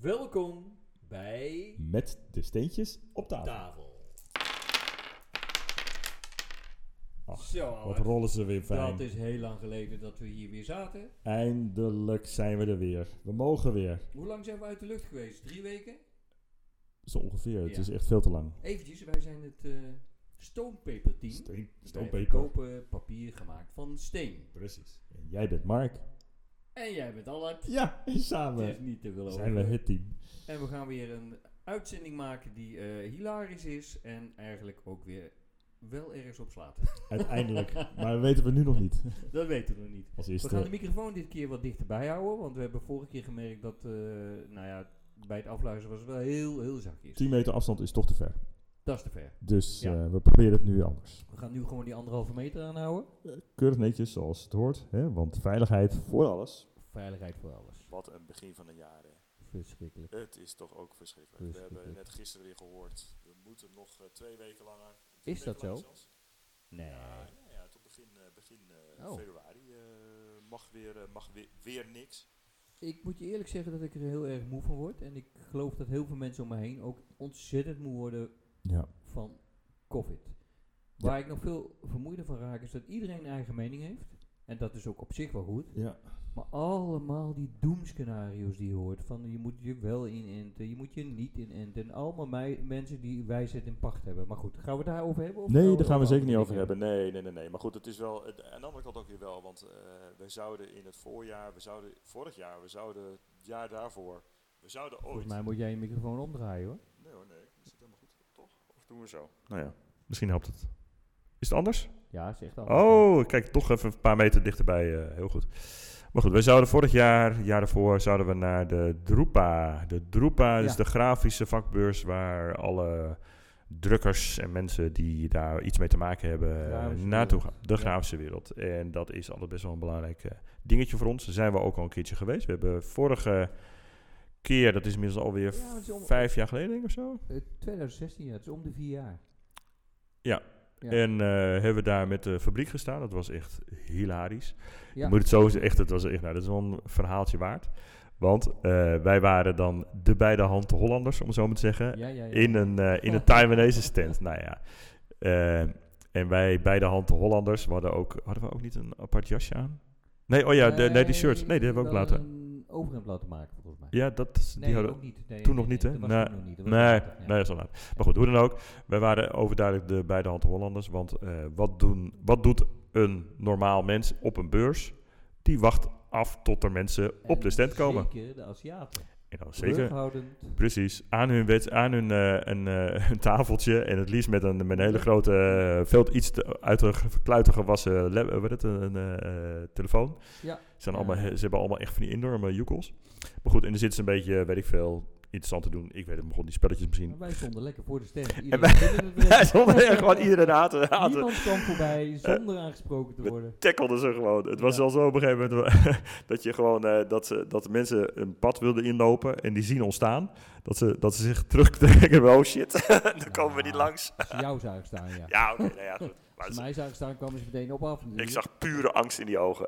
Welkom bij Met de steentjes op tafel. tafel. Ach, Zo, Wat ouwe. rollen ze weer fijn. dat is heel lang geleden dat we hier weer zaten. Eindelijk zijn we er weer. We mogen weer. Hoe lang zijn we uit de lucht geweest? Drie weken? Zo ongeveer. Het Ja. is echt veel te lang. Eventjes, wij zijn het eh Stonepaper Team. Steen, Wij stoompeper. verkopen papier gemaakt van steen. Precies. En jij bent Mark. En jij bent Allard. Ja, en Het is samen niet te geloven. zijn we het team. En we gaan weer een uitzending maken die eh, hilarisch is en eigenlijk ook weer wel ergens op slaat. Uiteindelijk. maar dat weten we nu nog niet. dat weten we niet. Als We gaan de eerste. microfoon dit keer wat dichterbij houden, want we hebben vorige keer gemerkt dat, eh, nou ja, bij het afluisteren was het wel heel, heel zachtjes. 10 meter afstand is toch te ver. Dat is te ver. Dus Ja. eh, we proberen het nu anders. We gaan nu gewoon die anderhalve meter aanhouden. Keurig netjes zoals het hoort. Hè? Want veiligheid voor alles. Veiligheid voor alles. Wat een begin van een jaar. hè. Verschrikkelijk. Het is toch ook verschrikkelijk. We hebben Verschrikkelijk. net gisteren weer gehoord. We moeten nog eh, twee weken langer. Drie Is dat weken langer zo? zelfs. Nee. Ja, ja, ja, tot begin, eh, begin eh, Oh. februari eh, mag, weer, eh, mag weer, weer niks. Ik moet je eerlijk zeggen dat ik er heel erg moe van word. En ik geloof dat heel veel mensen om me heen ook ontzettend moe worden Ja. van COVID. Waar ik nog veel vermoeider van raak is dat iedereen een eigen mening heeft. En dat is ook op zich wel goed. Ja. Maar allemaal die doemscenario's die je hoort. Van je moet je wel inenten, je moet je niet inenten. En allemaal mij, mensen die wijsheid in pacht hebben. Maar goed, gaan we het daarover hebben? Of Nee, gaan daar gaan we over zeker niet andere over dingen hebben. hebben. Nee, nee, nee, nee. Maar goed, het is wel. het- aan de andere kant ook weer wel. Want eh, we zouden in het voorjaar, we zouden vorig jaar, we zouden het jaar daarvoor, we zouden ooit. Volgens mij moet jij je microfoon omdraaien hoor. Nee hoor, nee. Is het helemaal goed, toch? Of doen we zo? Nou ja, misschien helpt het. Is het anders? Ja, zeg dan. Oh, ik kijk toch even een paar meter dichterbij. eh, heel goed. Maar goed, we zouden vorig jaar, jaar daarvoor, zouden we naar de Drupa. De Drupa is Ja. de grafische vakbeurs waar alle drukkers en mensen die daar iets mee te maken hebben eh, Grafische naartoe gaan. wereld. De Ja. grafische wereld. En dat is altijd best wel een belangrijk eh, dingetje voor ons. Daar zijn we ook al een keertje geweest. We hebben vorige keer, dat is inmiddels alweer Ja, het is om- vijf jaar geleden denk ik of zo. Eh, 2016, ja, het is om de vier jaar. Ja. En eh, hebben we daar met de fabriek gestaan. Dat was echt hilarisch. Ja, Je moet het zo zeggen, echt, het was echt, nou, dat is wel een verhaaltje waard. Want eh, wij waren dan de beide hand Hollanders, om het zo maar te zeggen, ja, ja, ja. in een, eh, in een Taiwanese stand. nou ja. Eh, en wij beide hand Hollanders, we hadden ook, hadden we ook niet een apart jasje aan? Nee, oh ja, de, nee, die shirts, nee, die hebben we ook wel laten. een overhemd laten maken volgens mij. Ja, dat, nee, die hadden, ook niet. Nee, toen nee, nog niet, nee, hè? Dat was Nee. toen nog niet. dat was Nee, later, ja. nee, dat is al laat. Maar goed, hoe dan ook. Wij waren overduidelijk de beide hand Hollanders. Want eh, wat, doen, wat doet een normaal mens op een beurs? Die wacht af tot er mensen op de En stand komen. Zeker de Aziaten. En dan zeker, Terughoudend. precies, aan hun, wet, aan hun eh, een, eh, een tafeltje. En het liefst met een, met een hele grote, eh, veel iets te, uit de ge- kluiten gewassen lab, eh, wat het, een, eh, eh, telefoon. Ja. Ze Zijn Ja. allemaal, he- ze hebben allemaal echt van die enorme joekels. Maar goed, en er zitten ze een beetje, weet ik veel, interessant te doen. Ik weet het, maar goed, die spelletjes misschien Maar wij stonden lekker voor de stand. Iedereen En wij- wilde het Hij weten. stond er gewoon iedereen aan te haten. Niemand kwam voorbij zonder aangesproken te worden. Tackelde ze gewoon. Het was Ja. zelfs zo op een gegeven moment dat je gewoon eh, dat, ze, dat de mensen een pad wilden inlopen en die zien ons staan. Dat ze, dat ze zich terugtrekken. Oh shit, dan komen we niet Ja. langs. Als ze jou zagen staan, ja. Ja, oké, nou ja, goed. Als Maar ze ze- mij zagen staan, kwamen ze meteen op af. natuurlijk. ik zag pure angst in die ogen.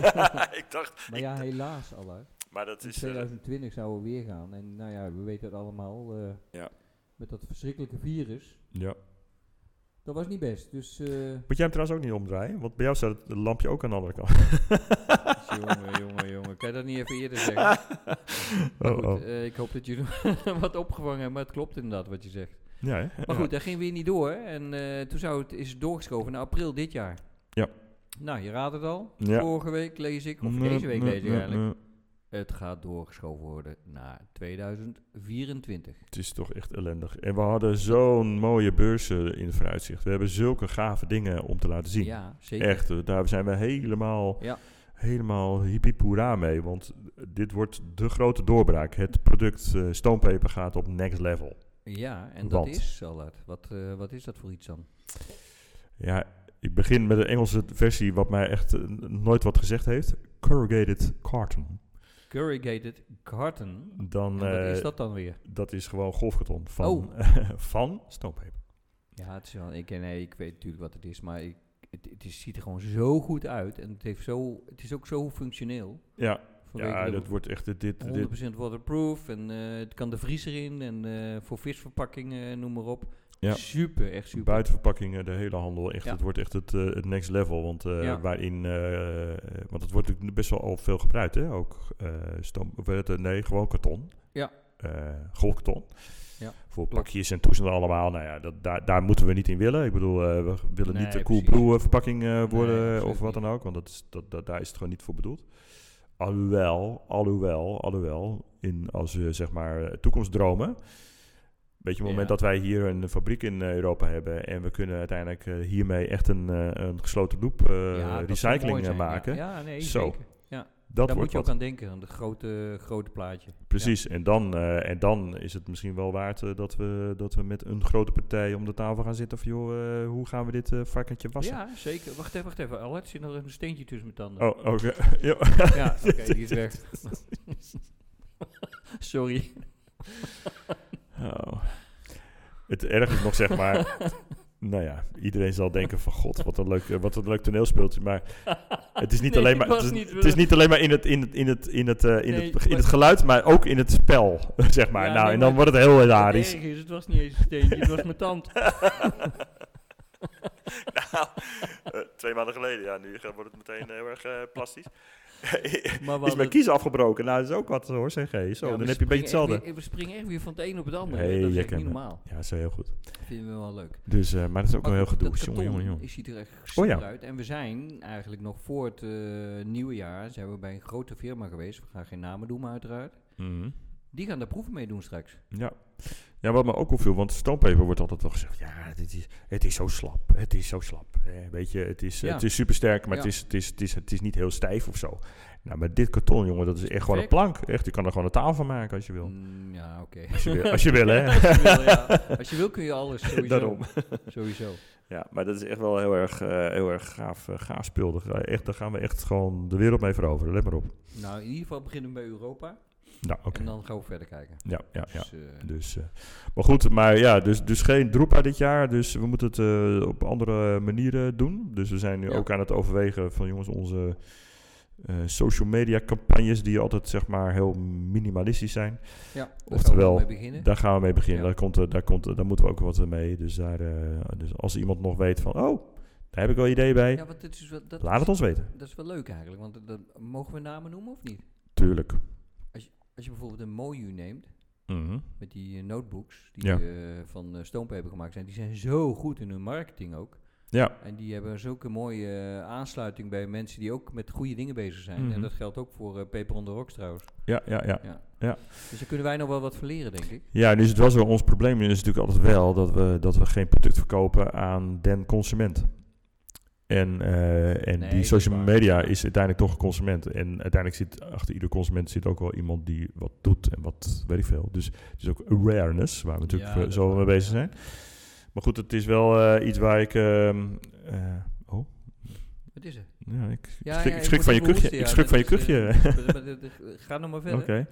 ik dacht, maar ja, helaas, Allah. maar dat In is. eh, 2020 zouden we weer gaan. En nou ja, we weten het allemaal. eh, Ja. Met dat verschrikkelijke virus. ja. Dat was niet best. Dus, eh Moet jij hem trouwens ook niet omdraaien? Want bij jou staat het lampje ook aan de andere kant. jongen, jongen, jongen. Kan je dat niet even eerder zeggen? Maar goed, Oh, oh. eh, ik hoop dat jullie wat opgevangen hebben. Maar het klopt inderdaad wat je zegt. Ja, hè? Maar goed, dat ging weer niet door. En eh, toen zou het, is het doorgeschoven naar april dit jaar. Ja. Nou, je raadt het al. Ja. Vorige week lees ik, of Nee, deze week nee, lees ik nee, eigenlijk. nee. Het gaat doorgeschoven worden naar 2024. Het is toch echt ellendig. En we hadden zo'n mooie beurzen in het vooruitzicht. We hebben zulke gave dingen om te laten zien. Ja, zeker. echt, eh, daar zijn we helemaal, Ja. helemaal hippiepoera mee. Want dit wordt de grote doorbraak. Het product eh Stoompeper gaat op next level. Ja, en dat Want- is Salat. Wat, eh, wat is dat voor iets dan? Ja, ik begin met een Engelse versie wat mij echt eh, nooit wat gezegd heeft. Corrugated carton. Corrugated carton. Dan, en wat eh, is dat? dat dan weer? is gewoon golfkarton van, Oh. van Stoompeper. Ja, het is wel, ik, nee, ik weet natuurlijk wat het is, maar ik, het, het is, ziet er gewoon zo goed uit. En het, heeft zo, het is ook zo functioneel. Ja, Vanwege Ja, de dat wordt echt dit... dit, dit 100% waterproof en eh, het kan de vriezer in en eh, voor visverpakkingen, eh, noem maar op. Ja. Super, echt super. Buitenverpakkingen, de hele handel, echt, Ja. het wordt echt het, eh, het next level. Want, eh, Ja. waarin, eh, want het wordt natuurlijk best wel al veel gebruikt, hè? Ook eh stoom, of, eh, nee, gewoon karton. Ja. Eh, golfkarton. Ja, Voor klopt. pakjes en toestanden allemaal. Nou ja, dat, daar, daar moeten we niet in willen. Ik bedoel, eh, we willen Nee, niet de cool precies. brew verpakking eh, worden absoluut of wat dan ook. Want dat is, dat, dat, daar is het gewoon niet voor bedoeld. Alhoewel, alhoewel, alhoewel, in, als we zeg maar toekomstdromen. Weet je, op het moment Ja. dat wij hier een fabriek in eh, Europa hebben en we kunnen uiteindelijk eh, hiermee echt een, eh, een gesloten loop eh, Ja, dat zou mooi recycling eh, zijn, ja. maken, Ja, nee, Zo, zeker. dat Daar moet wordt je ook wat. aan denken, aan het grote, grote plaatje. Precies, en, dan, eh, en dan is het misschien wel waard eh, dat, we, dat we met een grote partij om de tafel gaan zitten van joh, eh, hoe gaan we dit eh, varkentje wassen? Ja, zeker. Wacht even, wacht even. Albert, zit nog een steentje tussen mijn tanden. Oh, oké. Ja. Ja, oké, die is weg. Sorry. Oh. Het erg is nog zeg maar. nou ja, iedereen zal denken van god, wat een leuk, eh, wat een leuk toneelspeeltje. Maar het is niet Nee, alleen ik maar. was Het is, niet- het is niet alleen maar in het, in het, in het, in het, eh, in Nee, het, in maar- het geluid, maar ook in het spel. zeg maar. Ja, nou, nee, en dan maar- wordt het heel Wat hilarisch. erg is, het was niet eens een steentje, het was mijn tand. nou, twee maanden geleden, ja, nu eh, wordt het meteen heel erg eh, plastisch. Maar we is mijn hadden- kies afgebroken. Nou, dat is ook wat hoor, CG. Zo, Ja, we dan heb je een beetje springen echt hetzelfde. weer- We springen echt weer van het een op het ander. Hey, dat is jij echt niet kent me. normaal. Ja, zo heel goed. Vinden we wel leuk. Dus, eh, maar dat is ook wel heel goed, gedoe. Oh, dat Jongen, karton jongen, jongen. is- ziet er echt super Oh ja. uit. En we zijn eigenlijk nog voor het eh, nieuwe jaar... zijn we bij een grote firma geweest. We gaan geen namen doen, maar uiteraard. Mhm. Die gaan daar proeven mee doen straks. Ja. ja, wat me ook opviel, want stoompeper wordt altijd wel gezegd... ja, dit is, het is zo slap, het is zo slap. Eh, weet je, het is, Ja. het is supersterk, maar Ja. het, is, het, is, het, is, het is niet heel stijf of zo. Nou, maar dit karton, jongen, dat is echt gewoon een plank. Echt, je kan er gewoon een tafel van maken als je wil. Mm, ja, oké. Als je wil, als je wil hè. Als je wil, ja. Als je wil kun je alles, sowieso. Daarom. Sowieso. Ja, maar dat is echt wel heel erg, eh, heel erg gaaf, eh, gaaf speel. Daar, ga- echt, daar gaan we echt gewoon de wereld mee veroveren. Let maar op. Nou, in ieder geval beginnen we bij Europa. Nou, oké. En dan gaan we verder kijken. Ja, ja, ja. Dus, eh, Dus, eh, maar goed, maar ja, dus, dus geen Droepa dit jaar. Dus we moeten het eh, op andere manieren doen. Dus we zijn nu Ja. ook aan het overwegen van jongens, onze eh, social media campagnes, die altijd zeg maar heel minimalistisch zijn. ja, daar gaan we oftewel, wel mee beginnen. Daar gaan we mee beginnen. Ja. Daar, komt, eh, daar, komt, eh, daar moeten we ook wat mee. Dus, daar, eh, dus als iemand nog weet van, oh, daar heb ik wel idee bij, ja, want dit is wel, dat, laat het ons weten. dat is wel leuk eigenlijk. Want dat, dat- mogen we namen noemen of niet? Tuurlijk. Als je bijvoorbeeld een Moju neemt, Mhm. met die eh, notebooks die Ja. eh, van eh Stonepaper gemaakt zijn, die zijn zo goed in hun marketing ook. Ja. En die hebben zulke mooie eh, aansluiting bij mensen die ook met goede dingen bezig zijn. Mhm. En dat geldt ook voor eh, Paper on the Rocks trouwens. Ja, ja, ja. Ja. Ja. Dus daar kunnen wij nog wel wat van leren, denk ik. Ja, dus het was wel ons probleem. Is natuurlijk altijd wel dat we, dat we geen product verkopen aan den consument. En, eh, en Nee, die social dat is waar. media is uiteindelijk toch een consument. En uiteindelijk zit achter ieder consument zit ook wel iemand die wat doet en wat weet ik veel. Dus het is ook awareness, waar we natuurlijk Ja, eh, dat is zo mee waar, bezig ja. zijn. Maar goed, het is wel eh, iets waar ik. ehm, eh, oh, Wat is er? ja, ik, Ja, ik ja, schrik, ik ik schrik moet van je even kuchje. hoesten, ik ja, schrik van je dat is, kuchje. Maar- maar- maar- Ga nog maar verder. Oké.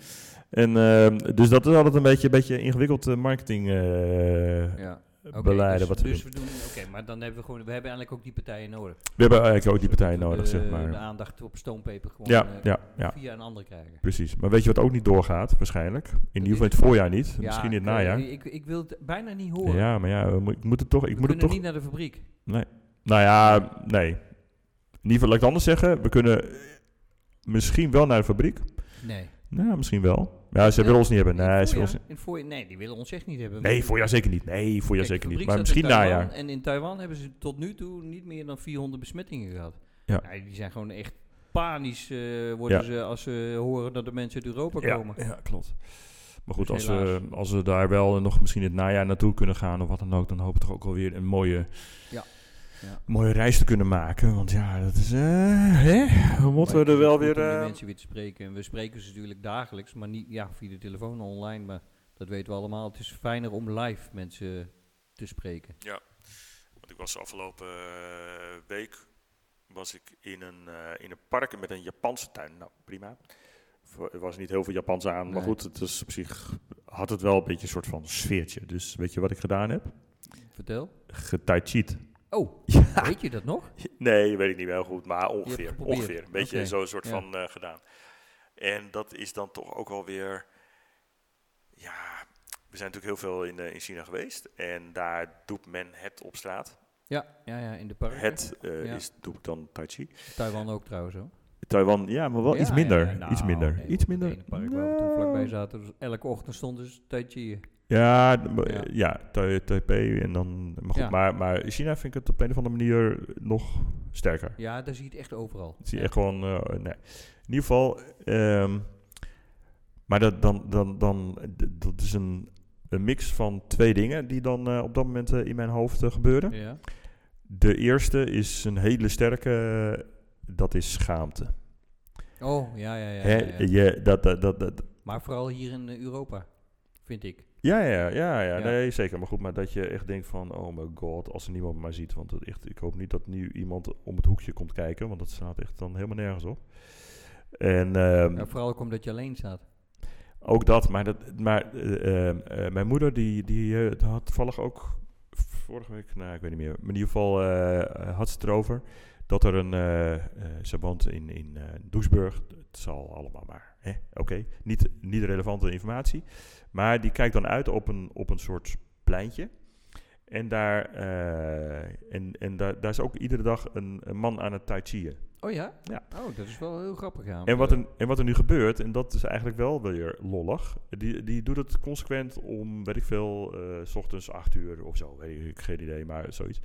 En ehm, dus dat is altijd een beetje, een beetje ingewikkeld eh, marketing eh, Ja. Oké, beleiden dus, wat we dus doen. we doen. Oké, maar dan hebben we gewoon. We hebben eigenlijk ook die partijen nodig. We hebben eigenlijk ook die partijen Dat we nodig, de- zeg maar. De aandacht op Stonepaper gewoon ja, eh, ja, ja, via een ander krijgen. precies. Maar weet je wat ook niet doorgaat, waarschijnlijk? In is ieder geval in het voorjaar niet, Ja, misschien in het ik, eh, najaar. Ik, ik wil het bijna niet horen. Ja, maar ja, we mo- ik moet het toch... Ik we moet het kunnen toch niet naar de fabriek. Nou ja, nee. In ieder geval, laat ik het anders zeggen. We kunnen misschien wel naar de fabriek. Nee. Nou, misschien wel. Ja, ze Ja, willen ons niet hebben. In het Nee, ze willen voorjaar? ons niet. In het voorjaar- nee, die willen ons echt niet hebben. Nee, voorjaar zeker niet. Nee, voorjaar Kijk, de zeker niet. fabriek Maar staat in misschien Taiwan najaar. En in Taiwan hebben ze tot nu toe niet meer dan 400 besmettingen gehad. Ja. Nou, die zijn gewoon echt panisch eh, worden Ja. ze als ze horen dat de mensen uit Europa Ja, komen. ja, klopt. Maar goed, Dus als we, als we daar wel nog misschien in het najaar naartoe kunnen gaan of wat dan ook, dan hoop ik toch ook wel weer een mooie, Ja. Ja. mooie reis te kunnen maken. Want ja, dat is. eh, hè? We moeten Maar er het is wel goed weer. om die eh, mensen weer te spreken. En we spreken ze natuurlijk dagelijks, maar niet ja, via de telefoon online. Maar dat weten we allemaal. Het is fijner om live mensen te spreken. Want ik was afgelopen eh, week was ik in een, eh, in een park met een Japanse tuin. Nou, prima. Voor- Er was niet heel veel Japans aan, maar Nee. goed, het was op zich had het wel een beetje een soort van sfeertje. Dus weet je wat ik gedaan heb? Vertel. Getaichied. Oh, weet je dat nog? Nee, weet ik niet heel goed, maar ongeveer. geprobeerd. ongeveer. Een beetje Oké. zo'n soort Ja. van eh, gedaan. En dat is dan toch ook wel weer. Ja, we zijn natuurlijk heel veel in, eh, in China geweest. En daar doet men het op straat. Ja, ja, ja in de parken. Het eh, Ja. is, doe ik dan Tai Chi. Taiwan ook trouwens hoor. Taiwan, ja, maar wel Ja, iets ja, minder. ja, nou, iets minder. nee, iets op het minder. ene park waar we toen Nou. vlakbij zaten, dus elke ochtend stond dus Tai Chi. Ja, d- maar, Ja. eh, ja, Tai- Taipei en dan... Maar goed, Ja. maar, maar in China vind ik het op een of andere manier nog sterker. Ja, daar zie je het echt overal. Het is Ja. echt gewoon... eh, nee. In ieder geval... ehm, maar dat, dan, dan, dan, d- dat is een, een mix van twee dingen die dan eh, op dat moment eh, in mijn hoofd eh, gebeuren. Ja. De eerste is een hele sterke... eh, dat is schaamte. Oh, ja, ja, ja. Hè, ja, ja. Je, dat, dat, dat, dat, Maar vooral hier in eh, Europa, vind ik. Ja, ja, ja, ja, Ja. nee, zeker. Maar goed, maar dat je echt denkt van, oh my god, als er niemand mij ziet. Want het echt, ik hoop niet dat nu iemand om het hoekje komt kijken, want dat slaat echt dan helemaal nergens op. En ehm, Ja, vooral ook omdat je alleen staat. ook dat, maar, dat, maar eh, ehm, eh, mijn moeder die, die eh, had toevallig ook vorige week, nou ik weet niet meer, maar in ieder geval eh, had ze het erover. Dat er een, eh, eh, ze woont in, in eh Doesburg, het zal allemaal maar, hè, oké, niet, niet relevante informatie. Maar die kijkt dan uit op een, op een soort pleintje. En, daar, eh, en, en daar, daar is ook iedere dag een, een man aan het tai chiën. Oh ja? Ja. Oh, dat is wel heel grappig. Ja. En wat, er, en wat er nu gebeurt, en dat is eigenlijk wel weer lollig. Die, die doet het consequent om, weet ik veel, eh, s ochtends 8 uur of zo. Weet ik geen idee, maar zoiets.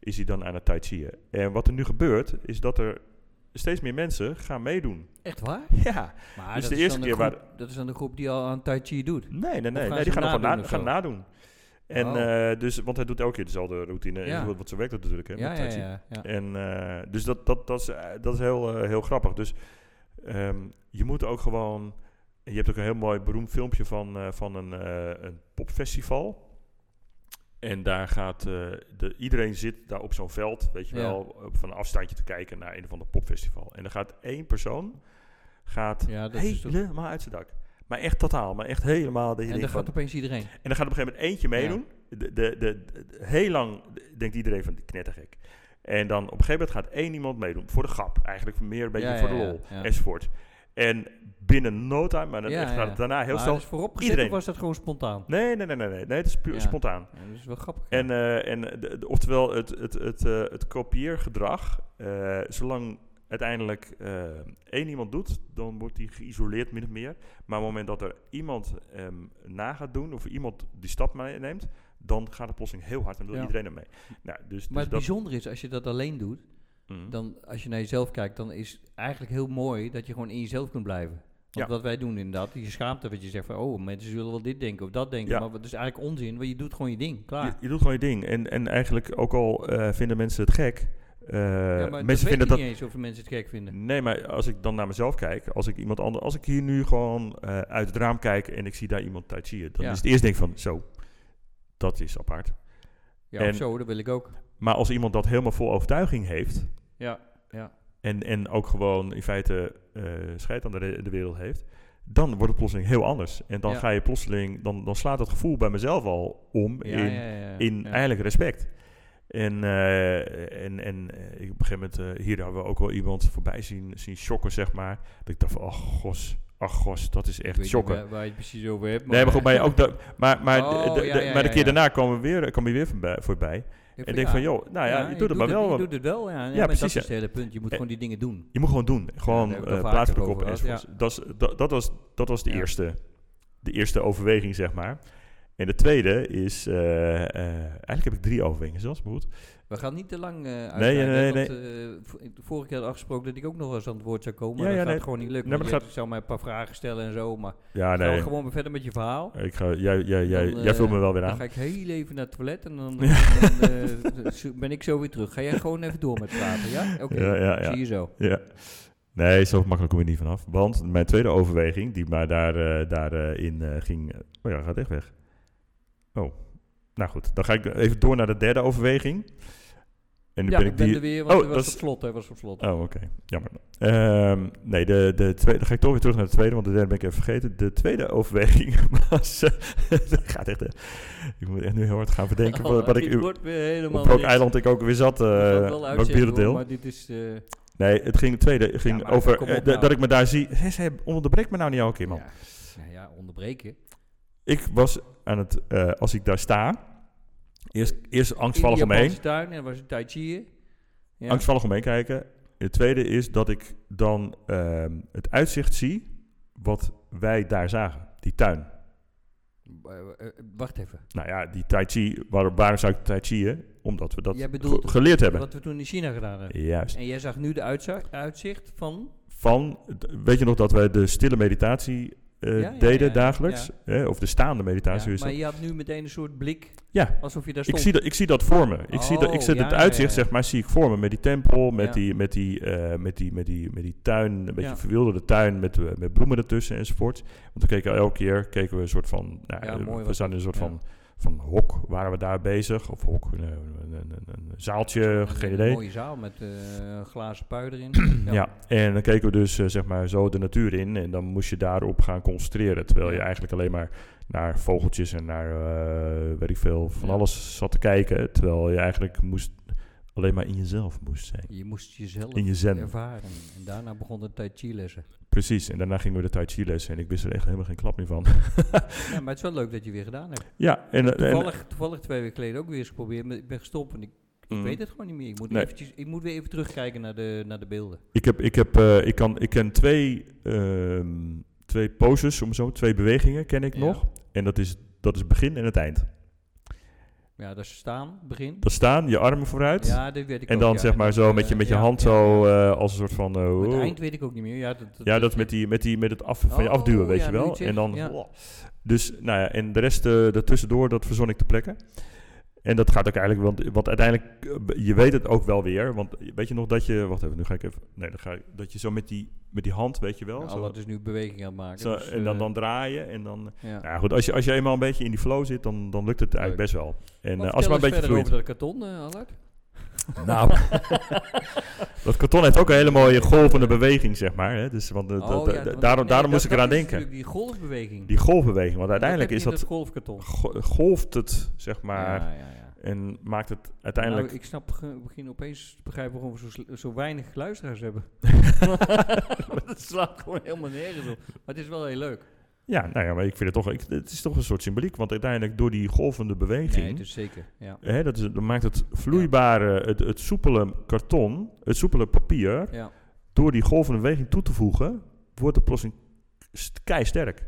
Is hij dan aan het tai chiën. En wat er nu gebeurt, is dat er steeds meer mensen gaan meedoen. Echt waar? Ja. Maar Dus dat de is eerste dan keer groep, Dat is dan de groep die al aan Tai Chi doet. Nee, nee, nee. gaan nee ze die gaan nadoen gewoon na, of gaan zo? nadoen. En, Oh. eh, dus, want hij doet elke keer dezelfde routine. En Ja. zo- want zo werkt dat natuurlijk, hè, Ja, met ja, tai chi. ja. ja. En, eh, dus dat, dat, dat is, eh, dat is heel, eh, heel grappig. Dus ehm, je moet ook gewoon. Je hebt ook een heel mooi beroemd filmpje van, eh, van een, eh, een popfestival. En daar gaat eh, de, iedereen zit daar op zo'n veld, weet je Ja. wel, op- van een afstandje te kijken naar een of ander popfestival. En dan gaat één persoon gaat Ja, dat is toch- helemaal uit zijn dak. Maar echt totaal, maar echt helemaal. Dat je En denkt daar van, gaat opeens iedereen. en dan gaat op een gegeven moment eentje meedoen. De, de, de, de- heel lang denkt iedereen van knettergek. En dan op een gegeven moment gaat één iemand meedoen. Voor de grap eigenlijk, meer een beetje Ja, voor ja, de ja, lol ja. enzovoort. En binnen no time, maar dan Ja, echt ja. gaat- daarna heel maar snel... dat is vooropgezet iedereen. of was dat gewoon spontaan? Nee, nee, nee, nee, nee, nee, het is puur Ja. spontaan. Ja, dat is wel grappig. En, eh, en de- de- oftewel, het, het, het, eh, het kopieergedrag, eh, zolang uiteindelijk eh, één iemand doet, dan wordt die geïsoleerd min of meer. Maar op het moment dat er iemand ehm, na gaat doen, of iemand die stap meeneemt, dan gaat het plotseling heel hard en wil Ja. iedereen ermee. Nou, dus, maar dus het bijzondere is, als je dat alleen doet, Mhm. dan als je naar jezelf kijkt, dan is het eigenlijk heel mooi dat je gewoon in jezelf kunt blijven. Want Ja. wat wij doen inderdaad, je schaamte, wat je zegt van, oh, mensen zullen wel dit denken of dat denken. Ja. Maar dat is eigenlijk onzin, want je doet gewoon je ding, je, klaar. je doet gewoon je ding. En, en eigenlijk, ook al eh, vinden mensen het gek, eh, Ja, maar dat mensen weet vinden je dat niet eens of de mensen het gek vinden. Nee, maar als ik dan naar mezelf kijk, als ik iemand anders, als ik hier nu gewoon eh, uit het raam kijk en ik zie daar iemand tai chiën, dan Ja. is het eerst denk ik van, zo, dat is apart. Ja, En- of zo, dat wil ik ook. Maar als iemand dat helemaal vol overtuiging heeft Ja, ja. en, en ook gewoon in feite eh scheid aan de, re- de wereld heeft, dan wordt het plotseling heel anders. En dan Ja. ga je plotseling, dan, dan slaat het gevoel bij mezelf al om ja, in, ja, ja, ja. in Ja. eigenlijk respect. En, eh, en, en eh, ik op een gegeven moment, eh, hier hebben we ook wel iemand voorbij zien, zien shocken, zeg maar. Dat ik dacht van, ach gos, ach gos, dat is Ik echt weet shocken. niet waar, waar je het precies over hebt. nee, maar goed, maar, ook dat, maar, maar, Oh, de, de- ja, de- ja, maar de ja, keer ja. daarna kwam, we weer, kwam hij weer voorbij. voorbij. Ik en ik denk van, joh, nou ja, je, doet het maar wel. Je want doet het wel, ja. Ja, ja, precies. Dat is precies, ja. het hele punt. Je moet Eh, gewoon die dingen doen. Je moet gewoon doen. Gewoon daar heb ik eh, het al plaatselijk vaker op over gehad, enzovoorts. Dat, is- dat, dat, was, dat was de, Ja. eerste, de eerste overweging, zeg maar. En de tweede is, eh, eh, eigenlijk heb ik drie overwegingen zelfs, maar goed. We gaan niet te lang eh uit. nee, want, eh, vo- ik- vorige keer had afgesproken dat ik ook nog wel eens aan het woord zou komen. Ja, maar dat ja, gaat nee. gewoon niet lukken. Nee, want maar je zou mij een paar vragen stellen en zo. Maar Ja, gaan we nee. gewoon weer verder met je verhaal. Ik ga, jij jij, jij, Dan, jij eh, vult me wel weer Dan aan. ga ik heel even naar het toilet en dan, dan, eh, zo- ben ik zo weer terug. Ga jij gewoon even door met praten, ja? Oké, Ja, ja, ja. zie je zo. Ja. Nee, zo makkelijk kom je niet vanaf. Want mijn tweede overweging, die maar daarin daar, eh, in eh, ging... eh, Oh ja, gaat echt weg. Oh. Nou goed, dan ga ik even door naar de derde overweging. En nu ja, ben ik ik ben die... er weer, want Oh, hij dat was is- op slot. Hij was op slot. Oh, oké. Jammer. Ehm, nee, de, de tweede, dan ga ik toch weer terug naar de tweede, want de derde ben ik even vergeten. De tweede overweging was... eh, dat gaat echt... eh, ik moet echt nu heel hard gaan bedenken wat, wat ik... Dit wordt weer Oh, helemaal Op welk niks. eiland ik ook weer zat, eh We gaan het wel welk uitzenden, hoor, werelddeel. Maar dit is... eh, Nee, het ging, de tweede het ging Ja, maar over kom eh, op da- nou. dat ik me daar zie. Hé, ze onderbreek me nou niet elke keer, man. Ja. Nou ja, onderbreken. Ik was aan het, eh, als ik daar sta, eerst, eerst angstvallig In de omheen. Japanse tuin en er was een tai chi. Ja. angstvallig omheen kijken. Het tweede is dat ik dan ehm, het uitzicht zie wat wij daar zagen. Die tuin. Eh, eh, Wacht even. Nou ja, die tai chi. Waar, waarom zou ik tai chiën? Omdat we dat Jij bedoelt ge- geleerd hebben. Wat we toen in China gedaan hebben. Juist. En jij zag nu de uitza- uitzicht van... Van, d- weet je nog dat wij de stille meditatie eh, Ja, ja, deden ja, dagelijks? Eh, of de staande meditatie. Ja, is maar dat. je had nu meteen een soort blik, ja. alsof je daar Ik stond. zie, dat, ik zie dat voor me. Ik zie dat, ik Oh, zet ja, het ja, uitzicht, ja, ja. zeg maar, zie ik voor me. Met die tempel, met, Ja. die, met, die, eh, met, die, met, die, met die tuin, een beetje Ja. verwilderde tuin met, eh, met bloemen ertussen enzovoort. Want we keken elke keer keken we een soort van. Nou, Ja, eh, mooi we was zaten in een soort ja. van, van hok, waren we daar bezig. Of hok, een, een, een, een- een zaaltje, eh, geen Een idee. eh, mooie zaal met eh, glazen pui erin. Ja. en dan keken we dus eh, zeg maar zo de natuur in en dan moest je daarop gaan concentreren. Terwijl je Ja. eigenlijk alleen maar naar vogeltjes en naar eh, weet ik veel, van Ja. alles zat te kijken. Terwijl je eigenlijk moest, alleen maar in jezelf moest zijn. Je moest jezelf In je zen. ervaren. En daarna begon de tai chi lessen. Precies, en daarna gingen we de tai chi lessen en ik wist er echt helemaal geen klap meer van. Ja, maar het is wel leuk dat je weer gedaan hebt. ja, en, en- Toevallig, toevallig twee weken geleden ook weer eens geprobeerd. maar Ik ben gestopt en ik, ik Mm. weet het gewoon niet meer. Ik moet, Nee. eventjes, ik moet weer even terugkijken naar de, naar de beelden. ik, heb, ik, heb, eh, ik, kan, ik ken twee, ehm, twee poses, om zo, twee bewegingen ken ik Ja. nog. En dat is, dat is het begin en het eind. Ja, dat is staan, begin. Dat staan, je armen vooruit. Ja, dat weet ik En ook, dan ja. zeg maar zo met je, met je ja, hand ja, zo ja. eh, als een soort van... eh, Maar wow. Het eind weet ik ook niet meer. Ja, dat, ja, dat met, die, met, die, met het af, van je Oh, afduwen, weet ja, je nu je wel. het zegt, En dan... ja. wow. Dus, nou ja, en de rest eh daartussendoor, dat verzon ik te plekken. En dat gaat ook eigenlijk, want, want uiteindelijk, eh, je weet het ook wel weer. Want weet je nog dat je, wacht even, nu ga ik even, nee, dan ga ik, dat je zo met die, met die hand, weet je wel. Ja, zo, dat is nu beweging aan het maken. zo- dus, en dan, eh, dan draaien en dan, ja. nou ja, goed, als je, als je eenmaal een beetje in die flow zit, dan, dan lukt het eigenlijk Leuk. best wel. En Maar eh, als het vertel maar een eens beetje verder vloeit. over dat karton, eh, Allard. Nou, dat karton heeft ook een hele mooie golvende beweging, zeg maar. Hè? Dus, want, eh, Oh, dat- ja, eh, want- nee, daarom daarom dat- moest ik dat eraan is denken. natuurlijk Die golfbeweging. Die golfbeweging, want Dat uiteindelijk heb is je in dat, het golfkarton. go- golft het, zeg maar, Ja, ja, ja. en maakt het uiteindelijk... Nou, ik snap, ge- begin opeens te begrijpen waarom we zo, sl- zo weinig luisteraars hebben. dat slaat gewoon helemaal nergens op. Maar het is wel heel leuk. ja, nou ja, maar ik vind het toch, ik, het is toch een soort symboliek, want uiteindelijk door die golvende beweging... Nee, dus zeker. Ja. Hè, dat, is, dat maakt het vloeibare, het, het soepele karton, het soepele papier, Ja. door die golvende beweging toe te voegen, wordt het plots een st- keisterk.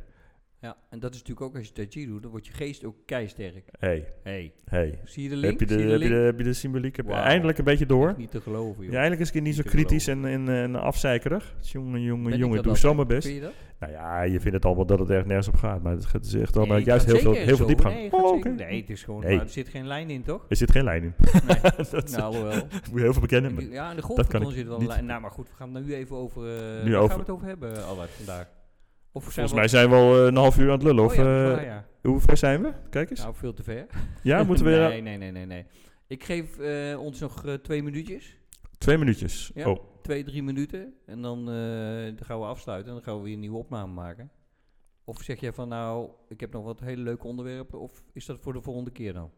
ja, en dat is natuurlijk ook als je Tai Chi doet, dan wordt je geest ook keisterk. hey, Hey. hey. Zie je de link? Heb je de, Zie je de heb je de, link? heb je de symboliek heb je Wauw. eindelijk een beetje door? Niet te geloven, joh. Ja, eindelijk is ik niet zo Niet te kritisch en, en, en eh, afzeikerig. Jongen, Ben jongen, ik jongen, dat doe altijd? zomaar best. Vind je dat? Nou ja, je vindt het allemaal dat het erg nergens op gaat. Maar het gaat- het is echt allemaal Nee, juist gaat heel veel, zeker heel veel zo. diepgang. Nee, gaat Oh, zeker. oké. nee, het is gewoon, Nee. maar er zit geen lijn in, toch? Er zit geen lijn in. Nee. dat nou, wel. ik moet je heel veel bekennen. maar- Ja, en de kan ik golfkarton zit wel een niet- lijn. Nou, maar goed, we gaan het nu even over... eh, Nu waar over- gaan we het over hebben, Allard, vandaag? Of zijn Volgens we mij zijn we al eh, een half uur aan het lullen. Oh Of, ja, dat is eh, waar, ja. hoe ver zijn we? Kijk eens. Nou, veel te ver. ja, moeten we... nee, nee, nee, nee, nee. Ik geef eh, ons nog eh, twee minuutjes. Twee minuutjes. Ja. Oh, Twee, drie minuten. En dan, eh, dan gaan we afsluiten. En dan gaan we weer een nieuwe opname maken. Of zeg jij van, nou, ik heb nog wat hele leuke onderwerpen. Of is dat voor de volgende keer dan?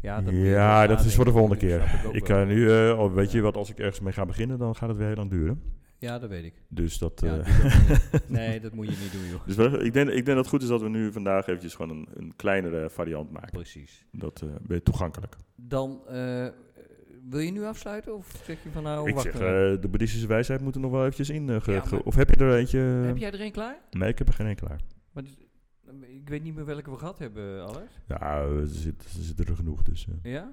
Ja, moet je Ja, even dat nadenken. is voor de volgende Tuurlijk, keer. snap ook ik wel. kan nu... eh, al weet je wat, als ik ergens mee ga beginnen, dan gaat het weer heel lang duren. Ja, dat weet ik. Dus dat... Ja, doe eh, dat niet. nee, dat moet je niet doen, joh. dus wel- ik, denk, ik denk dat het goed is dat we nu vandaag eventjes gewoon een, een kleinere variant maken. Precies. Dat eh ben je toegankelijk. Dan, eh, wil je nu afsluiten? Of zeg je van, nou, ik wacht zeg, even. eh, de boeddhistische wijsheid moet er nog wel eventjes in. eh, ge- Ja, ge- maar- of heb je er eentje? Heb jij er een klaar? Nee, ik heb er geen één klaar. Maar dit- ik weet niet meer welke we gehad hebben, Allard. Ja, eh, er zitten zit er genoeg. Dus, eh. Ja?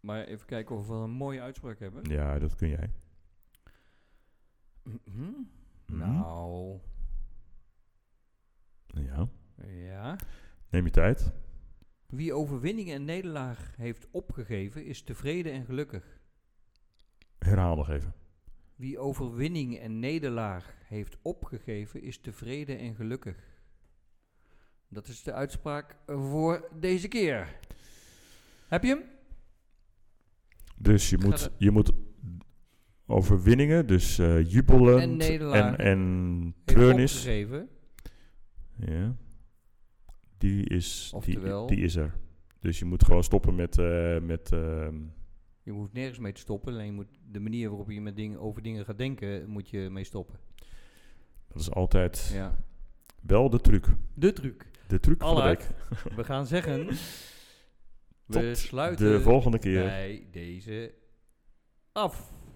Maar even kijken of we wel een mooie uitspraak hebben. ja, dat kun jij. Mhm. Mhm. Nou, Ja. ja. Neem je tijd. Wie overwinning en nederlaag heeft opgegeven, is tevreden en gelukkig. Herhaal nog even. Wie overwinning en nederlaag heeft opgegeven, is tevreden en gelukkig. Dat is de uitspraak voor deze keer. Heb je hem? Dus je Ga moet, er- je moet overwinningen, dus eh jubelend En nederlaag. dus- en, en Heeft treurnis. opgegeven. Ja. Die is, die, Oftewel- die is er. Dus je moet gewoon stoppen met, eh, met ehm, Je hoeft nergens mee te stoppen. Alleen je moet de manier waarop je met dingen, over dingen gaat denken, moet je mee stoppen. Dat is altijd Ja. wel de truc. De truc. De truc van de Allard, week. we gaan zeggen... we Tot sluiten De volgende keer. bij deze af.